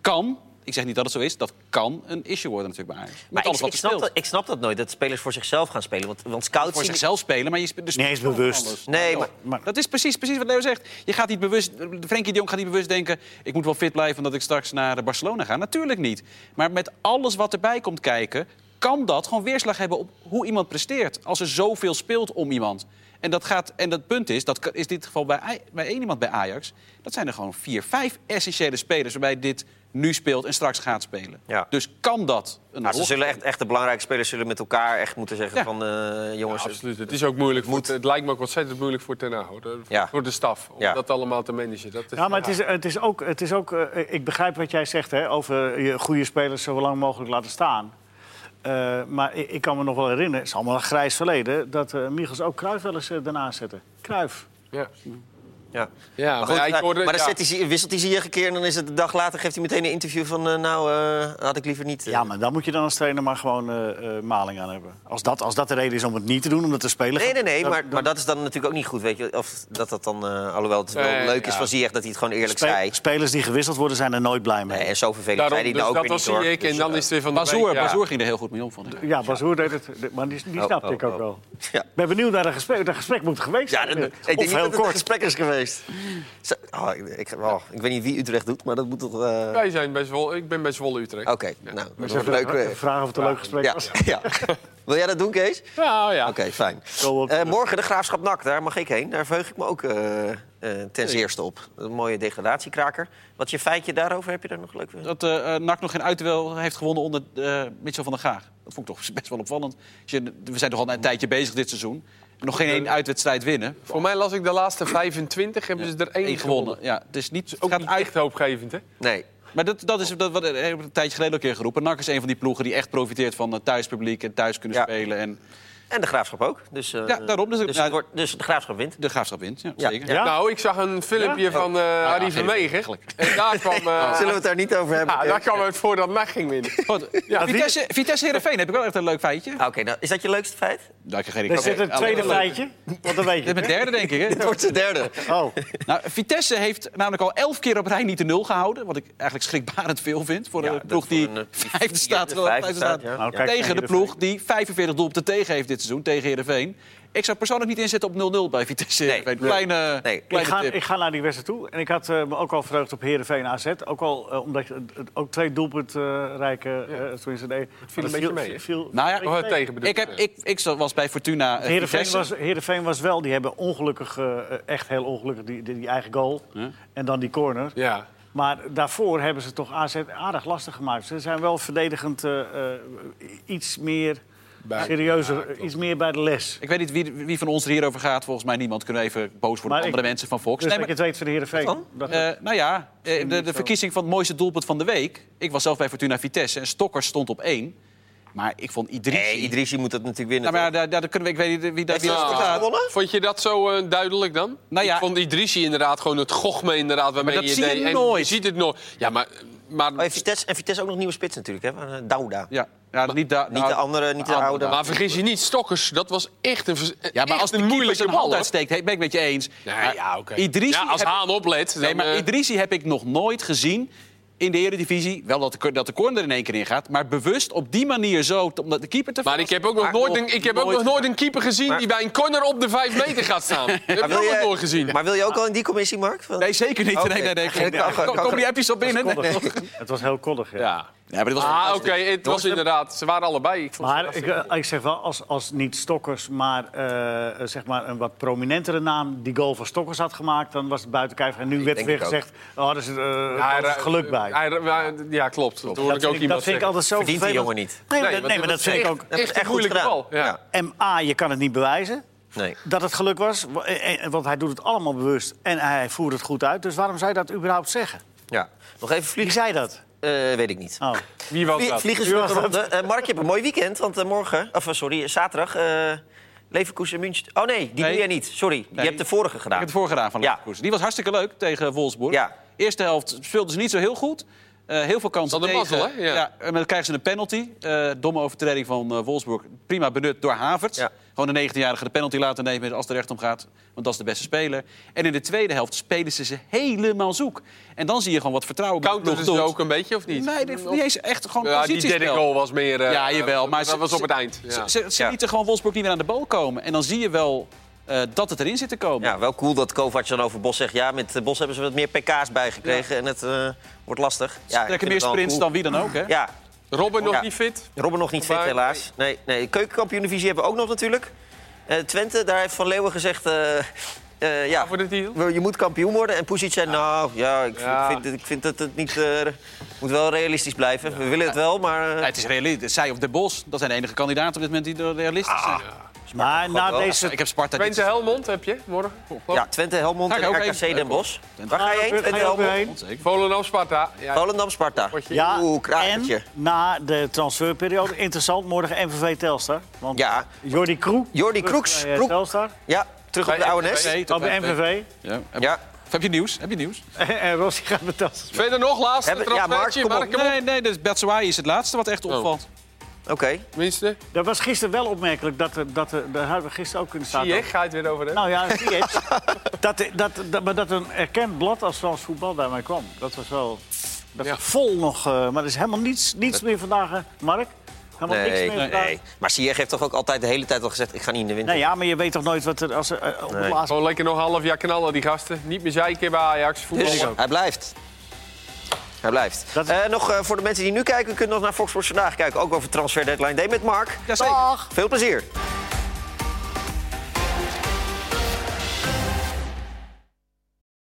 S2: kan, ik zeg niet dat het zo is, dat kan een issue worden natuurlijk bij Ajax. Met
S1: Maar ik,
S2: alles wat
S1: ik,
S2: er
S1: snap
S2: speelt.
S1: dat, ik snap dat nooit, dat spelers voor zichzelf gaan spelen. Want, want scouts...
S2: Voor
S1: zien-
S2: zichzelf spelen, maar je speelt dus
S3: Nee, is bewust.
S1: Nee, maar,
S3: Maar,
S2: Dat is precies, precies wat Leo zegt. Je gaat niet bewust, Frenkie de Jong gaat niet bewust denken... ik moet wel fit blijven omdat ik straks naar Barcelona ga. Natuurlijk niet. Maar met alles wat erbij komt kijken... kan dat gewoon weerslag hebben op hoe iemand presteert. Als er zoveel speelt om iemand. En dat, gaat, en dat punt is, dat is in dit geval bij, Aj- bij één iemand bij Ajax... dat zijn er gewoon vier, vijf essentiële spelers... waarbij dit nu speelt en straks gaat spelen.
S1: Ja.
S2: Dus kan dat een
S1: maar ze
S2: rol
S1: zullen echt, echt de belangrijke spelers zullen met elkaar echt moeten zeggen
S2: Ja.
S1: van... eh, jongens,
S4: Ja, absoluut. Het is ook moeilijk. Voor,
S1: Moet.
S4: het lijkt me ook ontzettend moeilijk voor Ten Hag, hoor.
S1: Ja.
S4: Voor de staf. Om
S1: Ja.
S4: dat allemaal te managen. Dat is,
S3: ja, maar het is, het is ook... Het is ook eh, ik begrijp wat jij zegt hè, over je goede spelers zo lang mogelijk laten staan. Eh, maar ik, ik kan me nog wel herinneren, het is allemaal een grijs verleden... dat eh Michels ook Kruif wel eens eh, daarnaast zette. Kruif.
S4: Ja.
S1: Ja.
S4: Ja,
S1: Maar,
S4: maar,
S1: goed,
S4: ja, ik
S1: eh,
S4: hoorde-
S1: maar dan
S4: ja.
S1: zet hij, zich- wisselt hij zich een keer en dan is het de dag later... geeft hij meteen een interview van, eh, nou, eh, had ik liever niet. eh.
S3: Ja, maar dan moet je dan als trainer maar gewoon eh, eh, maling aan hebben. Als dat, als dat de reden is om het niet te doen, omdat de speler...
S1: Nee, nee, nee,
S3: dat-
S1: maar,
S3: dan-
S1: maar dat is dan natuurlijk ook niet goed, weet je. Of dat dat dan, eh, alhoewel het wel
S4: Nee,
S1: leuk is
S4: ja.
S1: van Ziyech dat hij het gewoon eerlijk
S3: spe-
S1: zei.
S3: spelers die gewisseld worden zijn er nooit blij mee.
S1: Nee, en zo vervelend
S4: Daarom,
S1: zei hij nou
S4: dus
S1: ook
S4: dat
S1: weer
S4: was
S1: niet, hoor.
S4: ik en
S1: Dus,
S4: dan
S1: eh,
S4: is er van de
S2: Bazoer,
S4: week, ja.
S2: Bazoer ging er heel goed mee om, vond ik.
S3: Ja, Bazoer deed het, maar die, die
S1: Oh,
S3: snapte
S1: oh,
S3: ik ook
S1: oh.
S3: wel.
S1: Ja.
S3: Ik ben benieuwd naar dat gesprek. Dat gesprek moet geweest
S1: Ja,
S3: zijn.
S1: dat, ik
S3: of
S1: denk niet
S3: heel
S1: dat het een
S3: kort.
S1: gesprek is geweest. Zo- oh, ik, ik- oh, ik weet niet wie Utrecht doet, maar dat moet toch... eh,
S4: Wij zijn bij Zwolle, ik ben bij Zwolle Utrecht.
S1: Oké, nou, dat
S3: Ze
S1: wordt leuk.
S3: even
S1: eh,
S3: vragen of het een leuk gesprek
S1: Ja,
S3: was.
S1: ja. Wil jij dat doen, Kees? Oké,
S4: Nou ja,
S1: fijn.
S3: Zo op-
S1: Eh, morgen de Graafschap NAC, daar mag ik heen. Daar verheug ik me ook eh, eh, ten zeerste op. Een mooie degradatiekraker. Wat is je feitje daarover, heb je daar nog leuk weer?
S2: Dat eh eh, NAC nog geen uitwel heeft gewonnen onder eh Mitchell van der Gaag. Dat vond ik toch best wel opvallend. Als je- we zijn toch al een tijdje bezig dit seizoen. Nog geen één uitwedstrijd winnen.
S4: voor mij las ik de laatste 25, hebben ze er één
S2: Eén
S4: gewonnen.
S2: gewonnen. Ja, het is niet,
S4: Ook
S2: gaat
S4: niet
S2: uit-
S4: echt hoopgevend, hè?
S1: Nee.
S2: Maar dat, dat is dat, wat ik heb een tijdje geleden al een keer geroepen. NAC is een van die ploegen die echt profiteert van het thuispubliek en thuis kunnen
S1: Ja.
S2: spelen. En
S1: En de Graafschap ook. Dus, eh,
S2: Ja, daarom. Dus-
S1: dus,
S2: nou,
S1: het wordt, dus de Graafschap wint.
S2: de graafschap wint. Ja,
S1: Ja.
S2: zeker.
S3: Ja?
S4: Nou, ik zag een filmpje van eh Harry
S2: geen
S4: Vermeegen. En daar kwam, eh,
S1: Zullen we het daar niet over hebben?
S4: ja, daar
S1: Kees?
S4: kwam het voor dat NAC ging winnen.
S2: Goed. Vitesse, Vitesse Heerenveen heb ik wel echt een leuk feitje.
S1: Ah, Oké, nou, is dat je leukste feit?
S2: Nou, ik heb geen
S3: Er
S2: idee.
S3: zit een
S2: Oké,
S3: tweede
S2: alleen-
S3: feitje. Want dan
S2: Dit
S3: weet
S2: is mijn
S3: je.
S2: derde, denk ik. Hè?
S1: Het wordt de derde.
S3: Oh,
S2: Nou, Vitesse heeft namelijk al elf keer op rij niet de nul gehouden. Wat ik eigenlijk schrikbarend veel vind voor de
S1: Ja, dat
S2: ploeg die
S1: voor een, eh,
S2: vijfde
S1: vierde,
S2: staat.
S1: vijfde
S2: vijfde
S1: staat,
S2: staat
S1: ja.
S3: Nou, kijk,
S2: tegen de
S3: Heerenveen.
S2: ploeg die 45 doelpunten tegen heeft dit seizoen, tegen Heerenveen. Ik zou persoonlijk niet inzetten op 0-0 bij Vitesse Heerenveen.
S1: nee.
S2: Kleine,
S1: Nee. Ik
S3: ik
S2: kleine
S3: ga,
S2: tip.
S3: ik ga naar die wedstrijd toe. En ik had eh, me ook al verheugd op Heerenveen AZ. Ook al eh, omdat je, het- het- ook twee doelpuntrijke... eh tenminste, nee.
S4: een
S3: Dat
S4: beetje mee, hè?
S3: viel-
S2: Nou ja,
S3: een beetje
S4: Of het
S3: mee.
S4: Oh, tegen bedoel
S2: Ik, heb, ik, ik was bij Fortuna eh,
S3: Heerenveen
S2: Vitesse.
S3: was, Heerenveen was wel, die hebben ongelukkig, eh, eh, echt heel ongelukkig, die, die, die eigen goal. En dan die corner.
S4: Ja.
S3: Maar daarvoor hebben ze toch AZ aardig lastig gemaakt. Ze zijn wel verdedigend eh, eh, iets meer
S4: Bij-
S3: serieuzer, iets meer bij de les.
S2: Ik weet niet wie, wie van ons er hierover gaat. Volgens mij niemand. Kunnen we even boos worden
S3: Maar
S2: op andere
S3: ik-
S2: mensen van Fox.
S3: Dus
S2: Nee,
S3: dat je
S2: maar,
S3: het weet van de Heerenveen.
S1: Wat dan?
S3: Dat-
S2: eh, nou ja, eh, de, de verkiezing van het mooiste doelpunt van de week. Ik was zelf bij Fortuna Vitesse en Stokkers stond op één. Maar ik vond Idrissi...
S1: Nee, Idrissi moet dat natuurlijk winnen.
S2: Nou, maar ja, daar, daar kunnen we, ik weet niet wie daar wie
S1: toch?
S2: dat
S1: Is
S2: voor
S1: dat
S2: gaat.
S1: gewonnen?
S4: Vond je dat zo eh, duidelijk dan?
S2: Nou ja.
S4: Ik vond Idrissi inderdaad gewoon het gochme inderdaad waarmee
S2: Maar dat
S4: je
S2: zie je
S4: deed. En
S2: nooit.
S4: ziet het nooit. Ja, maar... maar
S1: Oh, en, Vitesse, en Vitesse ook nog nieuwe spits natuurlijk, hè? Eh, Dauda.
S2: Ja, ja niet, nou, daar.
S1: Niet de andere, niet de
S2: andere.
S1: oude.
S4: maar vergis je niet, Stokkers, dat was echt een, vers-
S2: Ja, maar als
S4: echt
S2: de
S4: een
S2: keeper
S4: moeilijke
S2: zijn
S4: bal.
S2: hand
S4: hoor.
S2: uitsteekt, he- ben ik met je eens.
S4: Nee,
S2: Maar
S4: ja, oké.
S2: Idrissi
S4: Ja, als
S2: heb-
S4: Haan oplet.
S2: Nee,
S4: dan,
S2: maar
S4: eh,
S2: Idrissi heb ik nog nooit gezien in de Eredivisie. Wel dat de, dat de corner er in één keer in gaat. Maar bewust op die manier zo, t- om de keeper te
S4: Maar ik
S2: verrassen.
S4: heb ook nog
S2: Maar
S4: nooit een, ik heb ook nog nooit een keeper gezien
S1: Maar-
S4: die bij een corner op de 5 meter gaat staan. Dat heb ik ook nog nooit gezien.
S1: maar wil je ook al in die commissie, Mark? Van-
S2: Nee, zeker niet.
S1: Oké.
S2: Nee, nee, nee.
S1: Kan- kan-
S2: Kom-
S1: kan-
S2: Kom die appjes op binnen. Nee.
S3: koddig. Het was heel koddig, ja.
S4: ja.
S2: Ja, maar dit was
S4: Ah, oké,
S2: fantastisch.
S4: het was inderdaad. Ze waren allebei. Ik vond ze
S3: Maar ik,
S4: hartstikke goed.
S3: eh, ik zeg wel, als, als niet Stokkers, maar, eh, eh, zeg maar een wat prominentere naam... die goal van Stokkers had gemaakt, dan was het buiten kijf. En nu werd
S1: denk
S3: weer
S1: ik ook.
S3: gezegd, oh, daar zit eh,
S4: Hij
S3: daar zit
S4: ra-
S3: geluk bij.
S4: hij ra- hij- ja, klopt. Dat hoorde
S3: dat
S4: ik ook
S3: vind ik, dat
S4: eh, iemand
S3: vind ik
S4: zeggen.
S3: altijd zo
S1: Verdient die
S3: vervelend.
S1: jongen niet.
S3: Nee,
S4: Nee,
S3: dat-
S4: want
S3: nee, maar
S4: dit
S3: dat
S4: was
S3: vind ik ook...
S1: Dat is
S4: Echt een
S1: echt goed
S4: moeilijke
S1: gedaan.
S4: bal. Ja.
S1: Ja.
S3: MA, je kan het niet bewijzen.
S1: Nee.
S3: dat het geluk was. wa- eh, eh, Want hij doet het allemaal bewust en hij voert het goed uit. Dus waarom zou je dat überhaupt zeggen?
S1: Ja. Nog even
S3: Wie
S1: vliegen?
S3: zei dat?
S1: Eh, weet ik niet.
S3: Oh.
S4: Wie was
S1: Vlie-
S4: dat?
S1: Vliegensvluchtronde. Eh, Mark, je hebt een mooi weekend, want eh, morgen... Of eh, sorry, zaterdag... eh Leverkusen München... Oh nee, die
S2: Nee.
S1: doe jij niet. Sorry, je
S2: Nee.
S1: hebt de vorige
S2: Ik
S1: gedaan.
S2: heb het voorgedaan van
S1: Ja.
S2: Leverkusen. Die was hartstikke leuk tegen Wolfsburg.
S1: Ja.
S2: Eerste helft speelden ze niet zo heel goed. Eh, heel veel kansen
S4: Dat een
S2: tegen.
S4: mazzel, hè? Ja.
S2: en dan krijgen ze een penalty. Eh, domme overtreding van eh, Wolfsburg. Prima benut door Havertz.
S1: Ja.
S2: Gewoon de 19-jarige de penalty laten nemen als het er recht om gaat. Want dat is de beste speler. En in de tweede helft spelen ze ze helemaal zoek. En dan zie je gewoon wat vertrouwen bij de
S4: Counter is
S2: ploeg doet.
S4: ook een beetje, of niet?
S2: Nee, dit- niet eens echt gewoon
S4: Ja, die derde
S2: positiespel.
S4: goal was meer... eh,
S2: Ja, jawel. Maar
S4: dat
S2: ze-
S4: was op het
S2: ze-
S4: eind.
S2: Ze,
S4: Ja.
S2: ze, ze
S1: Ja.
S2: lieten gewoon Wolfsburg niet meer aan de bal komen. En dan zie je wel eh, dat het erin zit te komen.
S1: Ja, wel cool dat Kovac dan over Bos zegt... ja, met eh, Bos hebben ze wat meer pk's bijgekregen en het eh, wordt lastig. Ja, ik
S2: Trekken
S1: vind
S2: meer
S1: het wel
S2: sprints
S1: cool.
S2: dan wie dan ook, hè?
S1: Ja,
S4: Robin nog
S1: Ja.
S4: niet fit.
S1: Robben nog niet fit,
S4: Maar-
S1: helaas. Nee, nee. Keukenkampioen-divisie hebben we ook nog natuurlijk. Eh, Twente, daar heeft Van Leeuwen gezegd... eh, eh, ja,
S4: Voor de titel.
S1: je moet kampioen worden. En Pusic zei, nou, ja, ik,
S4: Ja.
S1: Vind, ik vind dat het niet... eh, moet wel realistisch blijven. We willen het wel, maar...
S2: Ja,
S1: eh,
S2: het is realistisch. Zij of De Bos, dat zijn de enige kandidaten op dit moment die er realistisch zijn.
S3: Maar na
S1: wel.
S3: deze...
S2: Ik heb Sparta
S4: Twente
S2: dit
S4: Helmond heb je morgen.
S1: ja, Twente, Helmond
S2: Ga ik
S1: en
S2: ook
S1: RKC
S2: heen.
S1: Den Bosch. Waar ga je heen,
S3: Ga
S1: Twente,
S3: je ook weer
S1: Helmond?
S3: heen?
S2: Onzeker.
S4: Volendam, Sparta. Ja,
S1: Volendam, Sparta.
S3: Ja,
S1: Oeh,
S3: en
S1: krakertje.
S3: na de transferperiode, interessant, morgen MVV Telstar. Want
S1: Ja.
S3: Jordi Kroe
S1: Jordi Kroeks,
S3: bij, eh,
S1: Kroek.
S3: Telstar.
S1: Ja, terug op de
S4: Bij
S1: oude nest.
S2: Nee,
S3: Op
S2: tot
S3: de
S2: vijf.
S3: MVV.
S2: Ja. Heb,
S1: Ja.
S2: heb je nieuws? Heb je nieuws?
S3: en Rossi Eh, gaat met dat.
S4: Verder nog, laatste
S1: Hebben- ja,
S4: transfertje.
S1: Mark, kom op.
S4: Mark, kom op.
S2: Nee, nee, dus Batshuayi is het laatste wat echt opvalt.
S1: Oké.
S4: Tenminste,
S3: Dat was gisteren wel opmerkelijk. Dat, er- dat, er- daar hadden we gisteren ook kunnen staan.
S4: Ziyech ga je het weer over hebben.
S3: Nou ja, zie je het. dat, dat, dat, maar dat een erkend blad als Frans Voetbal daarmee kwam. Dat was wel dat
S4: Ja.
S3: vol nog. eh, maar er is helemaal niets, niets meer vandaag, hè, Mark. Helemaal niks
S1: Nee,
S3: meer
S1: nee,
S3: vandaag.
S1: Maar Sier heeft toch ook altijd de hele tijd al gezegd... ik ga niet in de winter.
S3: Nou ja, maar je weet toch nooit wat er als er, eh, op het
S1: Nee.
S3: laatste...
S4: Gewoon lekker nog een half jaar knallen, die gasten. Niet meer zeiken bij Ajax. Voetbal.
S1: Dus hij blijft. Hij blijft.
S3: Dat-
S1: Eh, nog eh, voor de
S2: Oh,
S1: mensen die nu kijken, kunnen nog naar Fox Sports Vandaag kijken. Ook over Transfer Deadline Day met Mark.
S2: Jazeker.
S1: Veel plezier.